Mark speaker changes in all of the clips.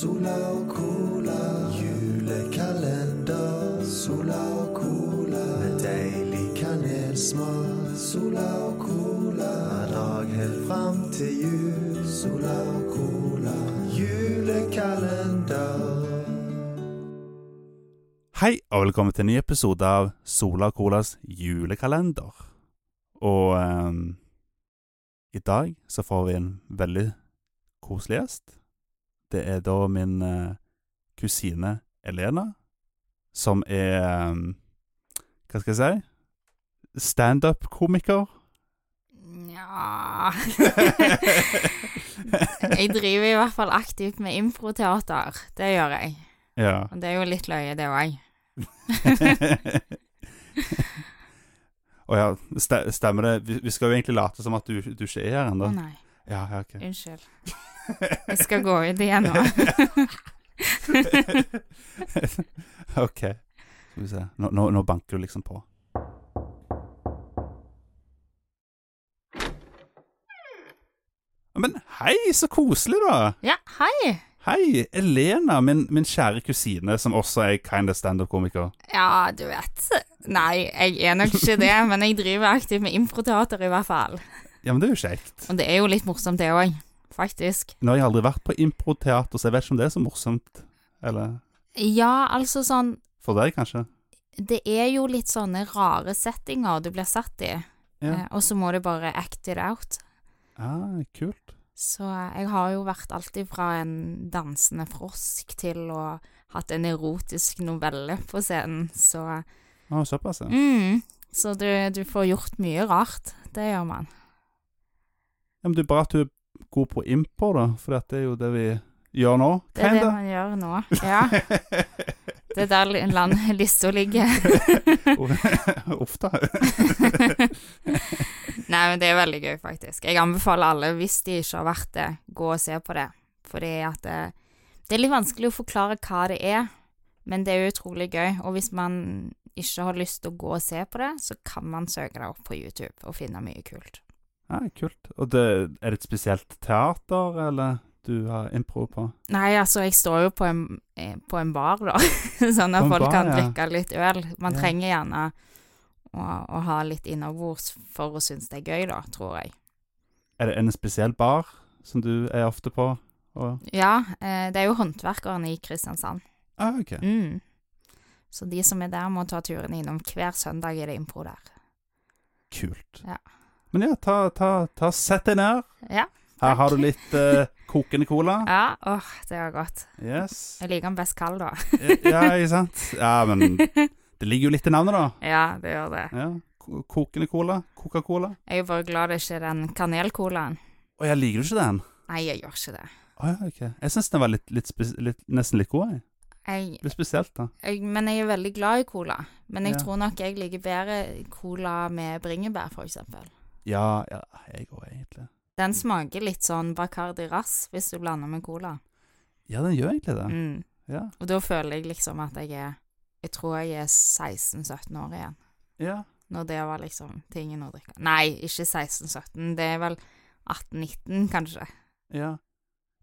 Speaker 1: Sola og cola, julekalender. Sola og cola, med deilig kanelsmak. Sola og cola, hver dag helt fram til jul. Sola og cola, julekalender.
Speaker 2: Hei, og velkommen til en ny episode av Sola Colas julekalender. Og ehm, i dag så får vi en veldig koselig gjest. Det er da min eh, kusine Elena, som er ehm, Hva skal jeg si? Standup-komiker.
Speaker 3: Nja Jeg driver i hvert fall aktivt med improteater. Det gjør jeg.
Speaker 2: ja.
Speaker 3: Og det er jo litt løye, det òg.
Speaker 2: Å ja, ste- stemmer det? Vi, vi skal jo egentlig late som at du, du ikke er her ennå.
Speaker 3: Nei,
Speaker 2: Ja, ja, ok.
Speaker 3: unnskyld. Jeg skal gå ut igjen nå.
Speaker 2: OK. Skal vi se. Nå, nå, nå banker du liksom på. Men hei, så koselig, da!
Speaker 3: Ja, hei!
Speaker 2: Hei, Elena, min, min kjære kusine, som også er kinda standup-komiker.
Speaker 3: Ja, du vet. Nei, jeg er nok ikke det, men jeg driver aktivt med improteater i hvert fall.
Speaker 2: Ja, men det er jo kjekt.
Speaker 3: Og det er jo litt morsomt, det òg. Faktisk.
Speaker 2: Nå har jeg aldri vært på improteater, så jeg vet ikke om det er så morsomt. Eller
Speaker 3: Ja, altså sånn
Speaker 2: for deg, kanskje.
Speaker 3: Det er jo litt sånne rare settinger du blir satt i,
Speaker 2: Ja.
Speaker 3: eh, og så må du bare act it out.
Speaker 2: Ah, kult.
Speaker 3: Så eh, jeg har jo vært alltid fra en dansende frosk til å hatt en erotisk novelle på scenen, så
Speaker 2: Å, Ah, såpass, ja.
Speaker 3: mm, Så du, du får gjort mye rart. Det gjør man.
Speaker 2: Ja, men det er bra at du er god på impro, da, for det er jo det vi gjør nå.
Speaker 3: Det er det
Speaker 2: Kinda.
Speaker 3: man gjør nå. Ja. Det er der li- land lista ligger.
Speaker 2: Uff da.
Speaker 3: Nei, men det er veldig gøy, faktisk. Jeg anbefaler alle, hvis de ikke har vært det, gå og se på det. Fordi at det, det er litt vanskelig å forklare hva det er, men det er utrolig gøy. Og hvis man ikke har lyst til å gå og se på det, så kan man søke det opp på YouTube og finne mye kult.
Speaker 2: Ja, Ah, kult. Og det, er det et spesielt teater, eller du har impro på?
Speaker 3: Nei, altså, jeg står jo på en, eh, på en bar, da,
Speaker 2: På
Speaker 3: sånn at
Speaker 2: en
Speaker 3: folk
Speaker 2: bar,
Speaker 3: kan
Speaker 2: ja.
Speaker 3: drikke litt øl. Man
Speaker 2: Ja.
Speaker 3: trenger gjerne å, å ha litt innabords for å synes det er gøy, da, tror jeg.
Speaker 2: Er det en spesiell bar som du er ofte på? Og...
Speaker 3: Ja, eh, det er jo håndverkerne i Kristiansand.
Speaker 2: Ah, ok.
Speaker 3: Mm. Så de som er der, må ta turen innom. Hver søndag er det impro der.
Speaker 2: Kult.
Speaker 3: Ja.
Speaker 2: Men ja, ta, ta, ta sett deg ned.
Speaker 3: Ja.
Speaker 2: Her
Speaker 3: Takk.
Speaker 2: har du litt eh, kokende cola.
Speaker 3: Ja, åh, det var godt.
Speaker 2: Yes.
Speaker 3: Jeg liker den best kald, da.
Speaker 2: Ja, ikke sant? Ja, men det ligger jo litt i navnet, da.
Speaker 3: Ja, det gjør det.
Speaker 2: Ja. Ko- Kokende cola. Coca-Cola.
Speaker 3: Jeg er bare glad det ikke er den kanelcolaen.
Speaker 2: Å, jeg liker du ikke den?
Speaker 3: Nei, jeg gjør ikke det.
Speaker 2: Å ja, ok. Jeg syns den var litt, litt, spes- litt, nesten litt god, jeg.
Speaker 3: Jeg,
Speaker 2: Litt spesielt, da.
Speaker 3: jeg, men jeg er veldig glad i cola. Men jeg
Speaker 2: Ja.
Speaker 3: tror nok jeg liker bedre cola med bringebær, for eksempel.
Speaker 2: Ja, ja jeg òg, egentlig.
Speaker 3: Den smaker litt sånn Bacardi Ras hvis du blander med cola.
Speaker 2: Ja, den gjør egentlig det.
Speaker 3: Mm.
Speaker 2: Ja.
Speaker 3: Og da føler jeg liksom at jeg er Jeg tror jeg er 16-17 år igjen.
Speaker 2: ja.
Speaker 3: Når det var liksom tingen å drikke. Nei, ikke 16-17. Det er vel 18-19, kanskje.
Speaker 2: ja.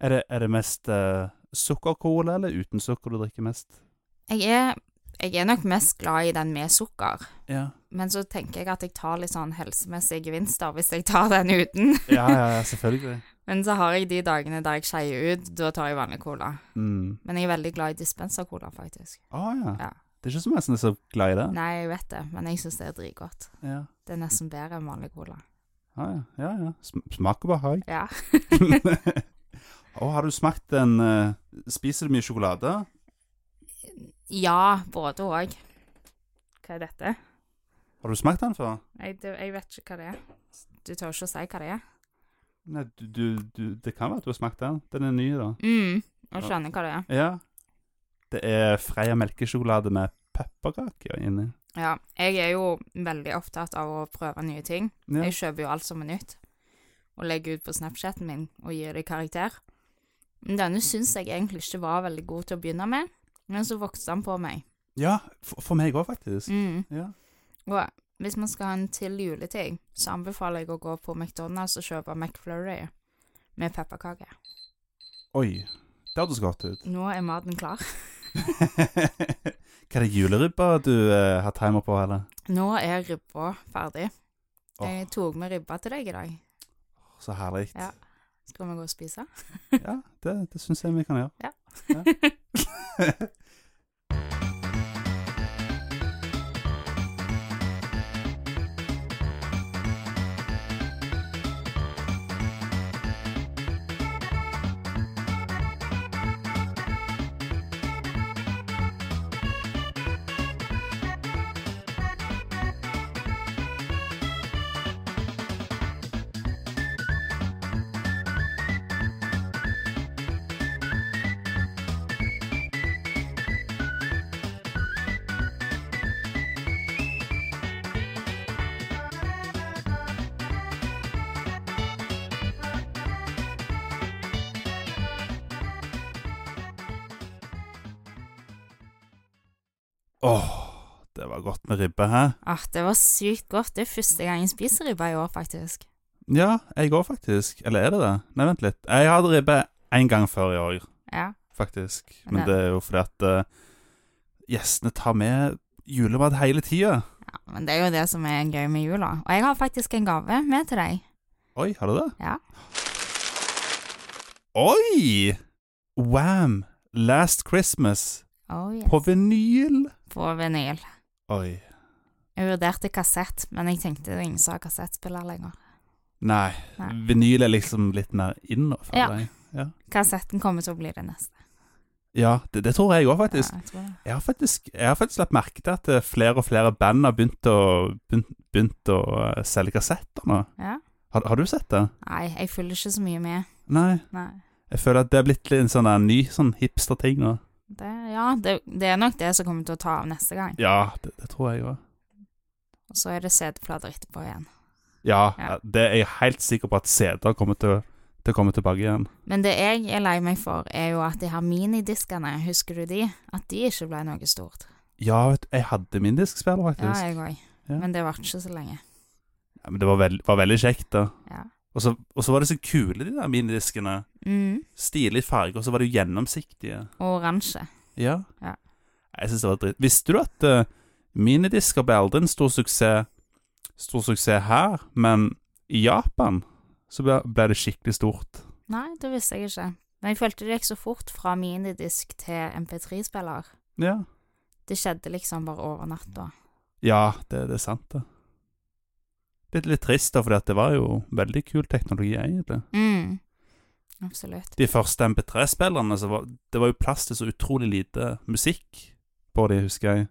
Speaker 2: Er, det, er det mest uh, sukkercola eller uten sukker du drikker mest?
Speaker 3: Jeg er, jeg er nok mest glad i den med sukker.
Speaker 2: Ja,
Speaker 3: Men så tenker jeg at jeg tar litt sånn helsemessige gevinster hvis jeg tar den uten.
Speaker 2: ja, ja, ja selvfølgelig.
Speaker 3: Men så har jeg de dagene der jeg skeier ut, da tar jeg vanlig cola.
Speaker 2: Mm.
Speaker 3: Men jeg er veldig glad i dispenser-cola, faktisk.
Speaker 2: Å ja.
Speaker 3: Ja.
Speaker 2: Det er ikke så mange som er så glad i det.
Speaker 3: Nei, jeg vet det, men jeg syns det er dritgodt.
Speaker 2: Ja,
Speaker 3: Det er nesten bedre enn vanlig cola.
Speaker 2: ja. ja, ja, ja. Sm smaker behag.
Speaker 3: Ja.
Speaker 2: Å, har du smakt en eh, Spiser du mye sjokolade?
Speaker 3: Ja, både òg. Hva er dette?
Speaker 2: Har du smakt den før?
Speaker 3: Jeg, det- jeg vet ikke hva det er. Du tør ikke å si hva det er?
Speaker 2: Nei, du, du, du, det kan være at du har smakt den. Den er ny, da.
Speaker 3: Mm,
Speaker 2: Ja.
Speaker 3: jeg skjønner hva det er.
Speaker 2: Ja. Det er Freia melkesjokolade med pepperkaker inni.
Speaker 3: Ja, jeg er jo veldig opptatt av å prøve nye ting.
Speaker 2: Ja.
Speaker 3: Jeg kjøper jo alt som er nytt, og legger ut på Snapchaten min og gir det karakter. Men Denne syns jeg egentlig ikke var veldig god til å begynne med, men så vokste den på meg.
Speaker 2: ja, for, for meg òg, faktisk.
Speaker 3: Mm.
Speaker 2: Ja.
Speaker 3: Og hvis man skal ha en til juleting, så anbefaler jeg å gå på McDonald's og kjøpe McFlurry med pepperkake.
Speaker 2: Oi. Det hørtes godt ut.
Speaker 3: Nå er maten klar.
Speaker 2: Hva er det juleribba du eh, har timer på, eller?
Speaker 3: Nå er ribba ferdig.
Speaker 2: Åh.
Speaker 3: Jeg tok med ribba til deg i dag.
Speaker 2: Så herlig.
Speaker 3: Eh, Ja. Skal vi gå og spise?
Speaker 2: Ja, det, det syns jeg vi kan gjøre.
Speaker 3: Ja.
Speaker 2: Åh, det var godt med ribbe her.
Speaker 3: Åh, Ah, det var sykt godt. Det er første gang jeg spiser ribba i år, faktisk.
Speaker 2: Ja, jeg går faktisk. Eller er det det? Nei, vent litt. Jeg hadde ribbe én gang før i år,
Speaker 3: Ja.
Speaker 2: faktisk. Men
Speaker 3: Ja.
Speaker 2: det er jo fordi at eh, gjestene tar med julemat hele tida.
Speaker 3: ja. Men det er jo det som er gøy med jula. Og jeg har faktisk en gave med til deg.
Speaker 2: Oi, har du det?
Speaker 3: Ja.
Speaker 2: Oi! Wham! Last Christmas
Speaker 3: Oh,
Speaker 2: på
Speaker 3: yes.
Speaker 2: vinyl.
Speaker 3: På vinyl.
Speaker 2: Oi.
Speaker 3: Jeg vurderte kassett, men jeg tenkte det er ingen som har kassettspiller lenger.
Speaker 2: Nei,
Speaker 3: Nei.
Speaker 2: vinyl er liksom litt mer inn nå,
Speaker 3: Ja.
Speaker 2: føler jeg.
Speaker 3: Kassetten kommer til å bli det neste.
Speaker 2: Ja, det, det tror jeg òg,
Speaker 3: Ja,
Speaker 2: faktisk.
Speaker 3: jeg tror det.
Speaker 2: Jeg har faktisk. Jeg har faktisk lagt merke til at eh, flere og flere band har begynt å, begynt, begynt å eh, selge kassetter nå.
Speaker 3: Ja.
Speaker 2: Har, har du sett det?
Speaker 3: Nei, jeg følger ikke så mye med.
Speaker 2: Nei.
Speaker 3: Nei.
Speaker 2: Jeg føler at det er blitt en sånn der ny sånn hipster-ting nå.
Speaker 3: Det, ja, det, det er nok det som kommer til å ta av neste gang.
Speaker 2: Ja, det, det tror jeg òg.
Speaker 3: Og så er det CD-plater etterpå igjen.
Speaker 2: Ja,
Speaker 3: Ja.
Speaker 2: det er jeg helt sikker på at CD-er kommer til, til å komme tilbake igjen.
Speaker 3: Men det jeg er lei meg for, er jo at de her minidiskene, husker du de? At de ikke ble noe stort.
Speaker 2: Ja, vet du, jeg hadde min diskspiller,
Speaker 3: Ja,
Speaker 2: faktisk.
Speaker 3: jeg òg.
Speaker 2: Ja.
Speaker 3: Men det varte ikke så lenge.
Speaker 2: Ja, men det var, veld, var veldig kjekt, da.
Speaker 3: Ja.
Speaker 2: Og så, og så var det så kule, de der minidiskene.
Speaker 3: Mm.
Speaker 2: Stilig farge, og så var de jo gjennomsiktige.
Speaker 3: Og oransje.
Speaker 2: Ja.
Speaker 3: Ja.
Speaker 2: Jeg syns det var dritt. Visste du at eh, minidisker ble aldri en stor suksess Stor suksess her, men i Japan så ble, ble det skikkelig stort.
Speaker 3: Nei, det visste jeg ikke. Men jeg følte det gikk så fort fra minidisk til MP3-spiller.
Speaker 2: Ja,
Speaker 3: Det skjedde liksom bare over natta.
Speaker 2: ja det, det er sant, det. Litt, litt trist, da, for det var jo veldig kul teknologi, egentlig.
Speaker 3: Mm. Absolutt.
Speaker 2: de første MP3-spillerne, så var det var jo plass til så utrolig lite musikk på de, husker jeg.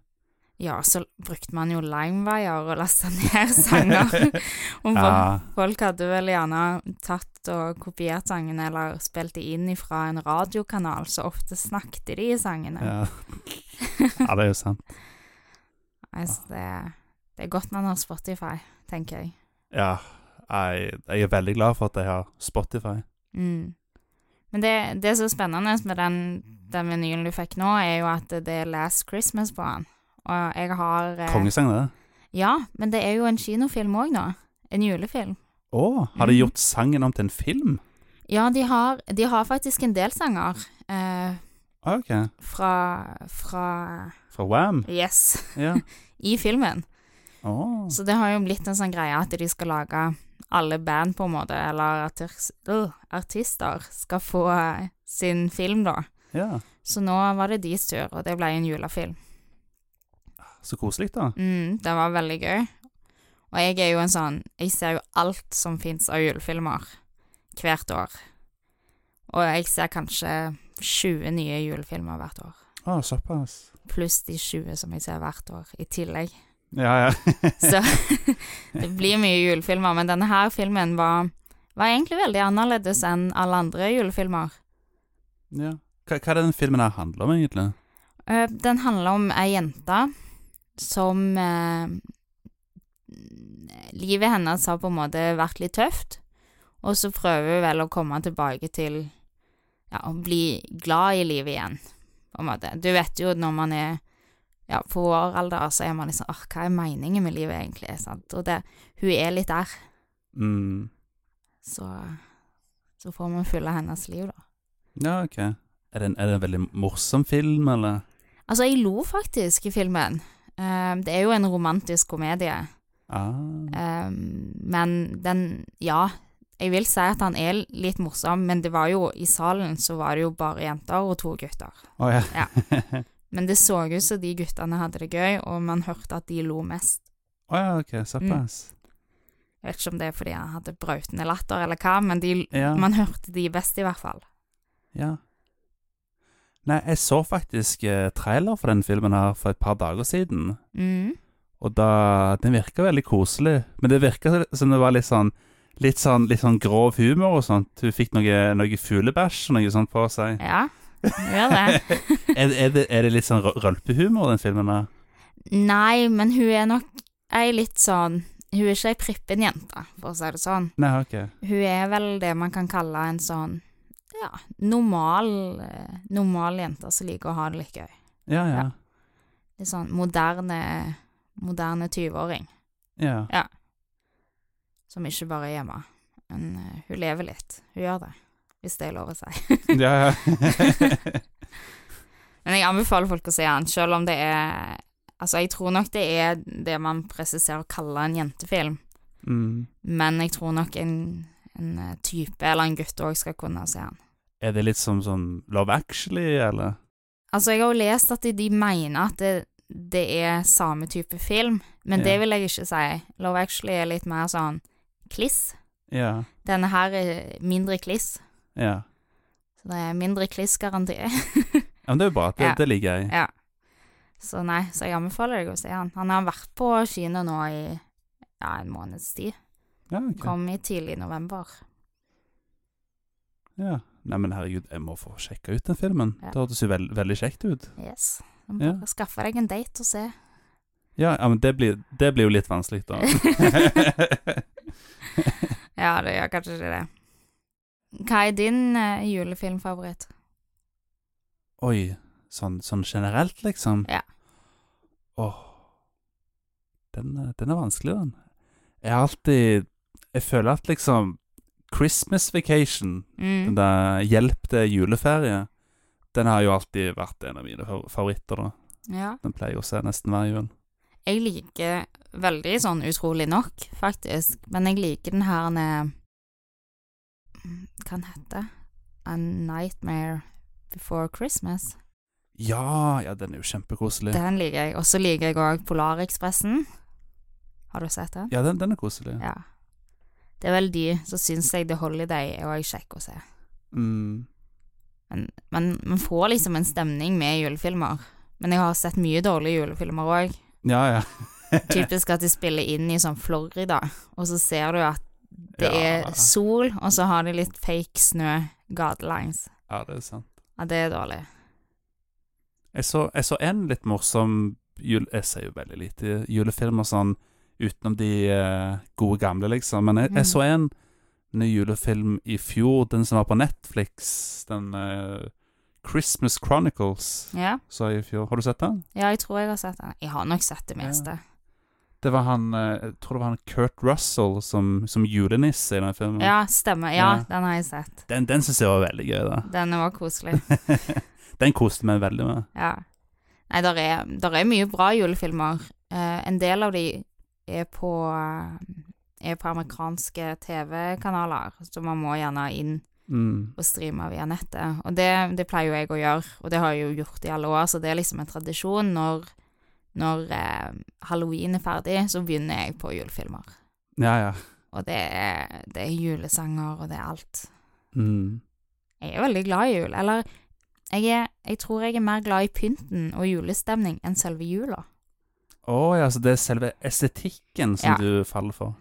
Speaker 3: Ja, så brukte man jo limewire og lasta ned sanger. Og
Speaker 2: ja,
Speaker 3: Folk hadde vel gjerne tatt og kopiert sangene, eller spilt de inn fra en radiokanal, så ofte snakket de i sangene.
Speaker 2: ja. ja, det er jo sant.
Speaker 3: Altså, det, det er godt man har Spotify, tenker jeg.
Speaker 2: Ja, jeg, jeg er veldig glad for at jeg har Spotify.
Speaker 3: Mm. Men det, det som er spennende med den, den vinylen du fikk nå, er jo at det er Last Christmas på den. Og jeg har eh,
Speaker 2: Kongesang, det.
Speaker 3: Ja, men det er jo en kinofilm òg nå. En julefilm.
Speaker 2: Å, har de
Speaker 3: Mhm.
Speaker 2: gjort sangen om til en film?
Speaker 3: Ja, de har, de har faktisk en del sanger eh,
Speaker 2: Ah, ok.
Speaker 3: fra, fra
Speaker 2: Fra Wham?
Speaker 3: Yes.
Speaker 2: Ja.
Speaker 3: i filmen.
Speaker 2: Å,
Speaker 3: Så det har jo blitt en sånn greie at de skal lage alle band, på en måte, eller artis øh, artister skal få eh, sin film, da.
Speaker 2: ja.
Speaker 3: Så nå var det deres tur, og det ble en julefilm.
Speaker 2: Så koselig, da.
Speaker 3: Mm, det var veldig gøy. Og jeg er jo en sånn Jeg ser jo alt som fins av julefilmer hvert år. Og jeg ser kanskje 20 nye julefilmer hvert år.
Speaker 2: Å, såpass.
Speaker 3: Pluss de 20 som jeg ser hvert år, i tillegg.
Speaker 2: Ja, ja.
Speaker 3: Så det blir mye julefilmer, men denne her filmen var, var egentlig veldig annerledes enn alle andre julefilmer.
Speaker 2: ja. Hva, hva er det den filmen her handler om, egentlig?
Speaker 3: Eh, Den handler om ei jente som eh, Livet hennes har på en måte vært litt tøft, og så prøver hun vel å komme tilbake til ja, å bli glad i livet igjen, på en måte. Du vet jo når man er ja, på vår alder, så er man liksom Åh, hva er meningen med livet, egentlig? Sant? Og det, hun er litt der.
Speaker 2: Mm.
Speaker 3: Så, så får man fylle hennes liv, da.
Speaker 2: Ja, ok. Er det, en, er det en veldig morsom film, eller?
Speaker 3: Altså, jeg lo faktisk i filmen. Eh, det er jo en romantisk komedie.
Speaker 2: Ah,
Speaker 3: Eh, men den Ja, jeg vil si at han er litt morsom, men det var jo i salen så var det jo bare jenter og to gutter.
Speaker 2: Å, ja.
Speaker 3: Men det så ut som de guttene hadde det gøy, og man hørte at de lo mest.
Speaker 2: Å ja, ok, såpass.
Speaker 3: Jeg vet ikke om det er fordi han hadde brautende latter eller hva, men de,
Speaker 2: Ja.
Speaker 3: man hørte de best i hvert fall.
Speaker 2: Ja. Nei, jeg så faktisk eh, trailer for den filmen her for et par dager siden.
Speaker 3: Mm.
Speaker 2: Og da Den virka veldig koselig. Men det virka som det var litt sånn Litt sånn, litt sånn grov humor og sånt. Hun fikk noe, noe fuglebæsj og noe sånt på seg.
Speaker 3: Ja, gjør det.
Speaker 2: Er, er, det, er det litt sånn rø- rølpehumor, den filmen her?
Speaker 3: Nei, men hun er nok ei litt sånn Hun er ikke ei prippen jente, for å si det sånn.
Speaker 2: Nei, OK.
Speaker 3: Hun er vel det man kan kalle en sånn ja, normal, eh, normal jente som liker å ha det litt gøy.
Speaker 2: Ja, ja.
Speaker 3: Litt sånn moderne, moderne 20-åring
Speaker 2: Ja.
Speaker 3: som ikke bare er hjemme. Men eh, hun lever litt. Hun gjør det, hvis det er lov å si.
Speaker 2: ja, ja.
Speaker 3: Men jeg anbefaler folk å se den, selv om det er Altså, jeg tror nok det er det man presiserer å kalle en jentefilm.
Speaker 2: Mm.
Speaker 3: Men jeg tror nok en, en eh, type eller en gutt òg skal kunne se den.
Speaker 2: Er det litt som sånn Love Actually, eller?
Speaker 3: Altså, jeg har jo lest at de, de mener at det, det er samme type film, men
Speaker 2: Ja.
Speaker 3: det vil jeg ikke si. Love Actually er litt mer sånn kliss.
Speaker 2: Ja.
Speaker 3: Denne her er mindre kliss.
Speaker 2: Ja.
Speaker 3: Så det er mindre kliss-garanti.
Speaker 2: ja men det er jo bra. Det,
Speaker 3: Ja.
Speaker 2: det liker jeg.
Speaker 3: Ja. så nei, så jeg anbefaler deg å se den. Han har vært på kino nå i ja, en måneds tid.
Speaker 2: Ja, ok.
Speaker 3: Kom i tidlig november.
Speaker 2: Ja. Nei, men herregud, jeg må få sjekka ut den filmen.
Speaker 3: Ja.
Speaker 2: Det hørtes jo veld, veldig kjekt ut.
Speaker 3: Yes. Du må
Speaker 2: Ja.
Speaker 3: bare Skaffe deg en date og se.
Speaker 2: Ja, ja men det blir, det blir jo litt vanskelig, da.
Speaker 3: Ja, det gjør kanskje ikke det. Hva er din eh, julefilmfavoritt?
Speaker 2: Oi. Sånn, sånn generelt, liksom.
Speaker 3: Ja.
Speaker 2: Åh. Den, er- den er vanskelig, den. Jeg har alltid Jeg føler at liksom Christmas Vacation Den
Speaker 3: Mm.
Speaker 2: der Hjelp det er juleferie. Den har jo alltid vært en av mine fa- favoritter. da.
Speaker 3: Ja.
Speaker 2: Den pleier jeg å se nesten hver jul.
Speaker 3: Jeg liker veldig sånn utrolig nok, faktisk, men jeg liker den her eh, Hva den heter A Nightmare Before Christmas.
Speaker 2: Ja, ja, den er jo kjempekoselig.
Speaker 3: Den liker jeg. Og så liker jeg òg Polarekspressen. Har du sett den?
Speaker 2: Ja, den, den er koselig.
Speaker 3: Ja. Det er vel de som syns jeg The Holiday er òg kjekk å se.
Speaker 2: Mm.
Speaker 3: Men man, man får liksom en stemning med julefilmer. Men jeg har sett mye dårlige julefilmer òg.
Speaker 2: Ja, ja.
Speaker 3: Typisk at de spiller inn i sånn Florida, og så ser du at det
Speaker 2: Ja.
Speaker 3: er sol, og så har de litt fake snø gatelangs.
Speaker 2: Ja, det er sant.
Speaker 3: Ja, det er dårlig.
Speaker 2: Jeg så, jeg så en litt morsom jul... Jeg ser jo veldig lite julefilmer sånn utenom de eh, gode gamle, liksom. Men jeg,
Speaker 3: Mm.
Speaker 2: jeg så en ny julefilm i fjor, den som var på Netflix. Den eh, Christmas Chronicles,
Speaker 3: Ja.
Speaker 2: så jeg i fjor. Har du sett den?
Speaker 3: ja, jeg tror jeg har sett den. Jeg har nok sett det meste.
Speaker 2: Det var han eh, Jeg tror det var han Kurt Russell som, som julenisse i den filmen.
Speaker 3: Ja, stemmer. Ja,
Speaker 2: Ja.
Speaker 3: den har jeg sett.
Speaker 2: Den, den syns jeg var veldig gøy, da.
Speaker 3: Den var koselig.
Speaker 2: Den koste meg veldig med.
Speaker 3: Ja. Nei, der er, der er mye bra julefilmer. Eh, en del av de er på, eh, er på amerikanske TV-kanaler, så man må gjerne inn
Speaker 2: Mm.
Speaker 3: og streame via nettet. Og det, det pleier jo jeg å gjøre, og det har jeg jo gjort i alle år, så det er liksom en tradisjon. Når, når eh, halloween er ferdig, så begynner jeg på julefilmer.
Speaker 2: Ja, ja.
Speaker 3: Og det er, det er julesanger, og det er alt.
Speaker 2: Mm.
Speaker 3: Jeg er veldig glad i jul. Eller jeg, er, jeg tror jeg er mer glad i pynten og julestemning enn selve jula.
Speaker 2: Å ja, så det er selve estetikken som
Speaker 3: Ja.
Speaker 2: du faller for.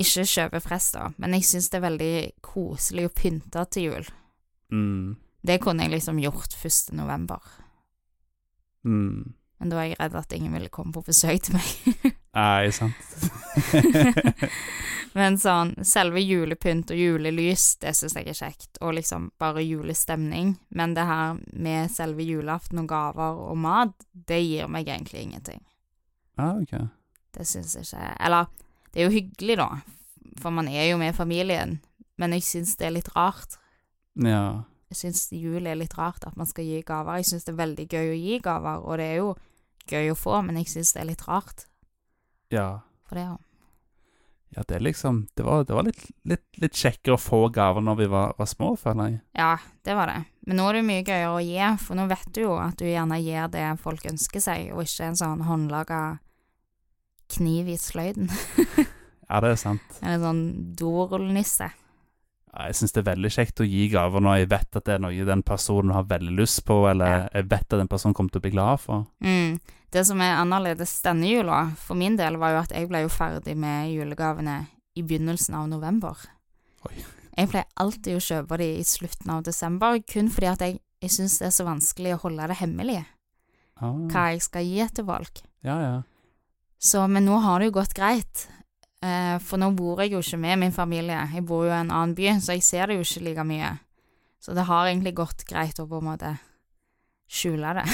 Speaker 3: Ikke kjøpe press, da, men jeg syns det er veldig koselig å pynte til jul.
Speaker 2: Mm.
Speaker 3: Det kunne jeg liksom gjort 1. november,
Speaker 2: Mm.
Speaker 3: men da var jeg redd at ingen ville komme på besøk til meg.
Speaker 2: Nei, sant.
Speaker 3: men sånn, selve julepynt og julelys, det syns jeg er kjekt, og liksom bare julestemning. Men det her med selve julaften og gaver og mat, det gir meg egentlig ingenting.
Speaker 2: Ja, ok.
Speaker 3: Det syns jeg ikke Eller, det er jo hyggelig, da, for man er jo med familien, men jeg syns det er litt rart.
Speaker 2: Ja.
Speaker 3: Jeg syns jul er litt rart at man skal gi gaver. Jeg syns det er veldig gøy å gi gaver, og det er jo gøy å få, men jeg syns det er litt rart.
Speaker 2: Ja.
Speaker 3: For det,
Speaker 2: Ja, det er liksom Det var, det var litt, litt, litt kjekkere å få gaver når vi var, var små, føler jeg.
Speaker 3: ja, det var det. Men nå er det jo mye gøyere å gi, for nå vet du jo at du gjerne gir det folk ønsker seg, og ikke en sånn håndlaga kniv i sløyden.
Speaker 2: Ja, det er sant.
Speaker 3: Eller en sånn dorullnisse.
Speaker 2: Ja, Jeg syns det er veldig kjekt å gi gaver når jeg vet at det er noe den personen har veldig lyst på, eller jeg vet at den personen kommer til å bli glad for.
Speaker 3: Mm. Det som er annerledes denne jula, for min del, var jo at jeg ble jo ferdig med julegavene i begynnelsen av november.
Speaker 2: Oi.
Speaker 3: Jeg pleier alltid å kjøpe de i slutten av desember, kun fordi at jeg, jeg syns det er så vanskelig å holde det hemmelig hva
Speaker 2: Ah,
Speaker 3: jeg skal gi til folk.
Speaker 2: ja, ja.
Speaker 3: Så, men nå har det jo gått greit, eh, for nå bor jeg jo ikke med min familie. Jeg bor jo i en annen by, så jeg ser det jo ikke like mye. Så det har egentlig gått greit å på en måte skjule det.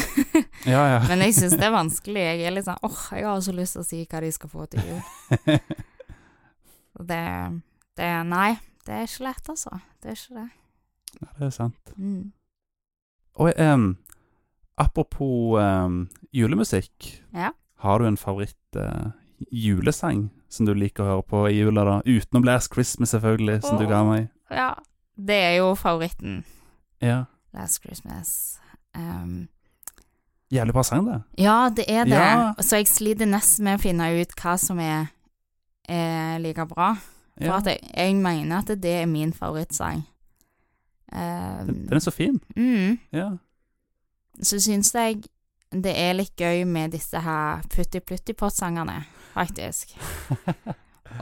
Speaker 2: Ja, ja.
Speaker 3: Men jeg syns det er vanskelig. Jeg er litt sånn åh, jeg har så lyst til å si hva de skal få til jul. Og Det, det Nei, det er ikke lett, altså. Det er ikke det.
Speaker 2: ja, det er sant.
Speaker 3: Mm.
Speaker 2: Og em, apropos em, julemusikk.
Speaker 3: Ja.
Speaker 2: Har du en favoritt eh, julesang som du liker å høre på i jula, da? Utenom Last Christmas, selvfølgelig, som du ga meg.
Speaker 3: Ja, det er jo favoritten.
Speaker 2: Ja.
Speaker 3: Last Christmas. Um,
Speaker 2: Jævlig bra sang, det.
Speaker 3: ja, det er det.
Speaker 2: Ja.
Speaker 3: Så jeg sliter nesten med å finne ut hva som er, er like bra. For
Speaker 2: Ja.
Speaker 3: at jeg, jeg mener at det er min favorittsang.
Speaker 2: Den,
Speaker 3: Um,
Speaker 2: den er så fin.
Speaker 3: mm.
Speaker 2: Ja.
Speaker 3: så syns jeg det er litt gøy med disse her putti-plutti-pott-sangene, faktisk.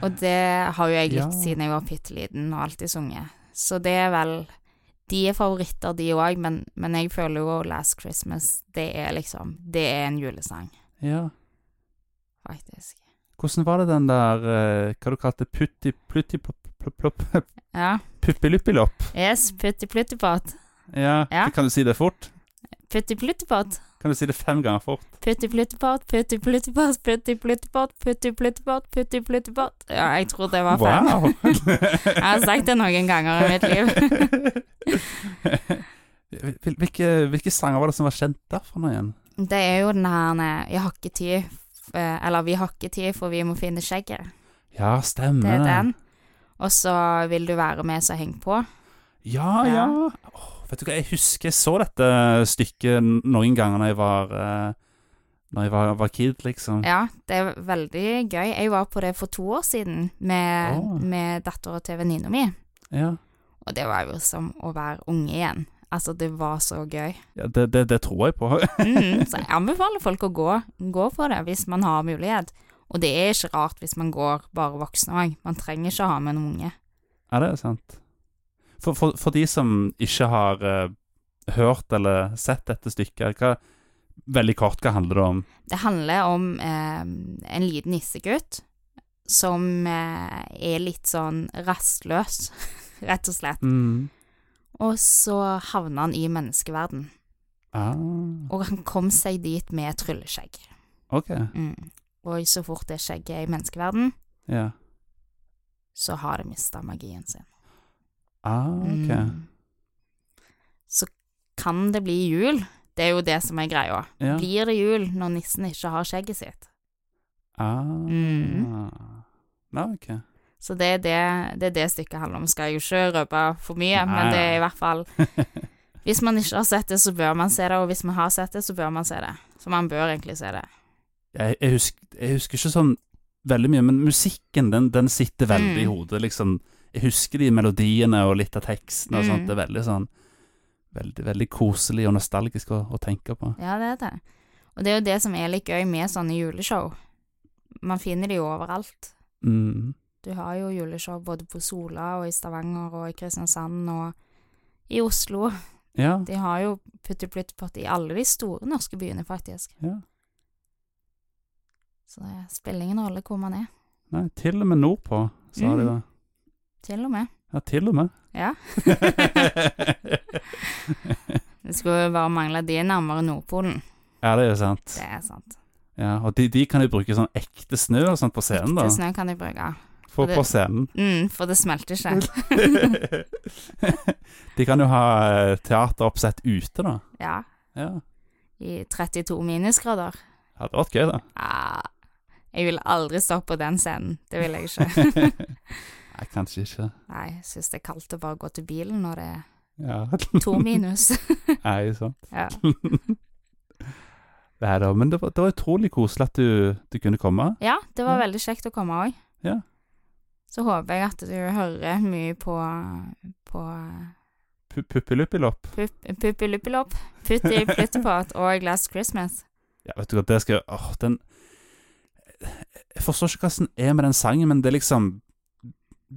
Speaker 3: Og det har jo jeg
Speaker 2: Ja.
Speaker 3: likt siden jeg var bitte liten og alltid sunget. Så det er vel De er favoritter, de òg, men, men jeg føler jo Last Christmas Det er liksom Det er en julesang,
Speaker 2: ja.
Speaker 3: faktisk.
Speaker 2: Hvordan var det den der eh, Hva du kalte putti plutti plopp plopp plopp
Speaker 3: Ja.
Speaker 2: Puppiluppilopp?
Speaker 3: Yes, putti-plutti-pott.
Speaker 2: Ja.
Speaker 3: Ja.
Speaker 2: Kan du si det fort?
Speaker 3: Putti-plutti-pott.
Speaker 2: Kan du si det fem ganger fort?
Speaker 3: Putti-plutti-pott, putti-plutti-pott, putti-plutti-pott, putti-plutti-pott, putti-plutti-pott. Ja, jeg tror det var fem.
Speaker 2: Wow!
Speaker 3: Jeg har sagt det noen ganger i mitt liv.
Speaker 2: Hvil- hvilke, hvilke sanger var det som var kjent derfra nå igjen?
Speaker 3: Det er jo den her eh, Jeg har ikke tid, f- eh, eller vi har ikke tid, for vi må finne skjegget.
Speaker 2: Ja, stemmer
Speaker 3: Det er den. Og så vil du være med, så heng på.
Speaker 2: Ja, ja.
Speaker 3: Ja.
Speaker 2: Åh, vet du hva, jeg husker jeg så dette stykket n- noen ganger når jeg var, eh, når jeg var, var kid, liksom.
Speaker 3: Ja, det er veldig gøy. Jeg var på det for to år siden med,
Speaker 2: Åh.
Speaker 3: med dattera til venninna mi,
Speaker 2: Ja.
Speaker 3: og det var jo som å være unge igjen. Altså, det var så gøy.
Speaker 2: ja det, det, det tror jeg på.
Speaker 3: Mm, så jeg anbefaler folk å gå, gå på det hvis man har mulighet. Og det er ikke rart hvis man går bare voksne òg. Man trenger ikke å ha med en unge.
Speaker 2: Ja, det er sant. For, for, for de som ikke har eh, hørt eller sett dette stykket, hva, veldig kort, hva handler det om?
Speaker 3: Det handler om eh, en liten nissegutt som eh, er litt sånn rastløs, rett og slett. Og så havna han i menneskeverden,
Speaker 2: Ah,
Speaker 3: og han kom seg dit med trylleskjegg.
Speaker 2: ok,
Speaker 3: Mm. Og så fort det skjegget er i menneskeverden,
Speaker 2: ja.
Speaker 3: så har det mista magien sin.
Speaker 2: Ah, ok.
Speaker 3: Mm. Så kan det bli jul. Det er jo det som er greia.
Speaker 2: Ja.
Speaker 3: Blir det jul når nissen ikke har skjegget sitt?
Speaker 2: Ah.
Speaker 3: Mm.
Speaker 2: Nei, ok.
Speaker 3: Så det er det, det er det stykket handler om. Skal jeg jo ikke røpe for mye,
Speaker 2: Nei.
Speaker 3: men det er i hvert fall Hvis man ikke har sett det, så bør man se det, og hvis man har sett det, så bør man se det. Så man bør egentlig se det.
Speaker 2: Jeg, jeg, husker, jeg husker ikke sånn veldig mye, men musikken, den, den sitter veldig i
Speaker 3: Mm.
Speaker 2: hodet, liksom. Jeg husker de melodiene og litt av teksten og
Speaker 3: Mm.
Speaker 2: sånt. Det er veldig sånn, veldig, veldig koselig og nostalgisk å, å tenke på.
Speaker 3: Ja, det er det. Og det er jo det som er litt gøy med sånne juleshow. Man finner de jo overalt.
Speaker 2: Mm.
Speaker 3: Du har jo juleshow både på Sola og i Stavanger og i Kristiansand og i Oslo.
Speaker 2: Ja,
Speaker 3: De har jo Putti Plutti Potti i alle de store norske byene, faktisk.
Speaker 2: ja.
Speaker 3: Så det spiller ingen rolle hvor man er.
Speaker 2: Nei, til og med nordpå, sa
Speaker 3: Mm.
Speaker 2: de da.
Speaker 3: Til og med.
Speaker 2: Ja, til og med.
Speaker 3: Ja. Det skulle jo bare mangle at de er nærmere Nordpolen.
Speaker 2: ja, det er jo sant.
Speaker 3: Det er sant.
Speaker 2: Ja, og de, de kan jo bruke sånn ekte snø og sånt på scenen, da.
Speaker 3: Til snø kan de bruke.
Speaker 2: på,
Speaker 3: Og det-
Speaker 2: på scenen.
Speaker 3: Mm, for det smelter ikke.
Speaker 2: De kan jo ha eh, teateroppsett ute, da.
Speaker 3: Ja.
Speaker 2: Ja.
Speaker 3: I 32 minusgrader.
Speaker 2: Hadde vært gøy, da.
Speaker 3: Ah, jeg vil aldri stå på den scenen. Det vil jeg ikke.
Speaker 2: Nei, kanskje ikke.
Speaker 3: Nei, jeg syns det er kaldt å bare gå til bilen når det er
Speaker 2: Ja.
Speaker 3: to minus.
Speaker 2: Nei, sant.
Speaker 3: Ja.
Speaker 2: Nei da, men det var, det var utrolig koselig at du, du kunne komme.
Speaker 3: Ja, det var
Speaker 2: Ja.
Speaker 3: veldig kjekt å komme òg.
Speaker 2: Ja.
Speaker 3: Så håper jeg at du hører mye på, på
Speaker 2: Pu- Puppiluppilopp.
Speaker 3: Pupp- Puppiluppilopp, Putti Pluttepott og Last Christmas.
Speaker 2: Ja, vet du hva, det skal Åh, den Jeg forstår ikke hva som er med den sangen, men det er liksom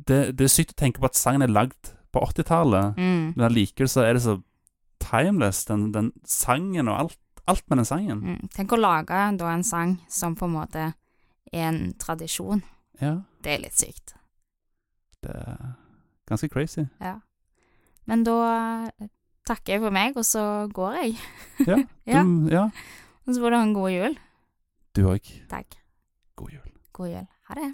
Speaker 2: Det, det er sykt å tenke på at sangen er lagd på 80-tallet,
Speaker 3: Mm.
Speaker 2: men allikevel så er det så timeless, den, den sangen og alt, alt med den sangen.
Speaker 3: Mm. Tenk å lage da en sang som på en måte er en tradisjon.
Speaker 2: Ja,
Speaker 3: Det er litt sykt.
Speaker 2: det er ganske crazy.
Speaker 3: Men da eh, takker jeg for meg, og så går jeg.
Speaker 2: Ja,
Speaker 3: Ja.
Speaker 2: Du, ja.
Speaker 3: Og så får du ha en god jul.
Speaker 2: du òg.
Speaker 3: Takk.
Speaker 2: God jul.
Speaker 3: God jul. Ha det.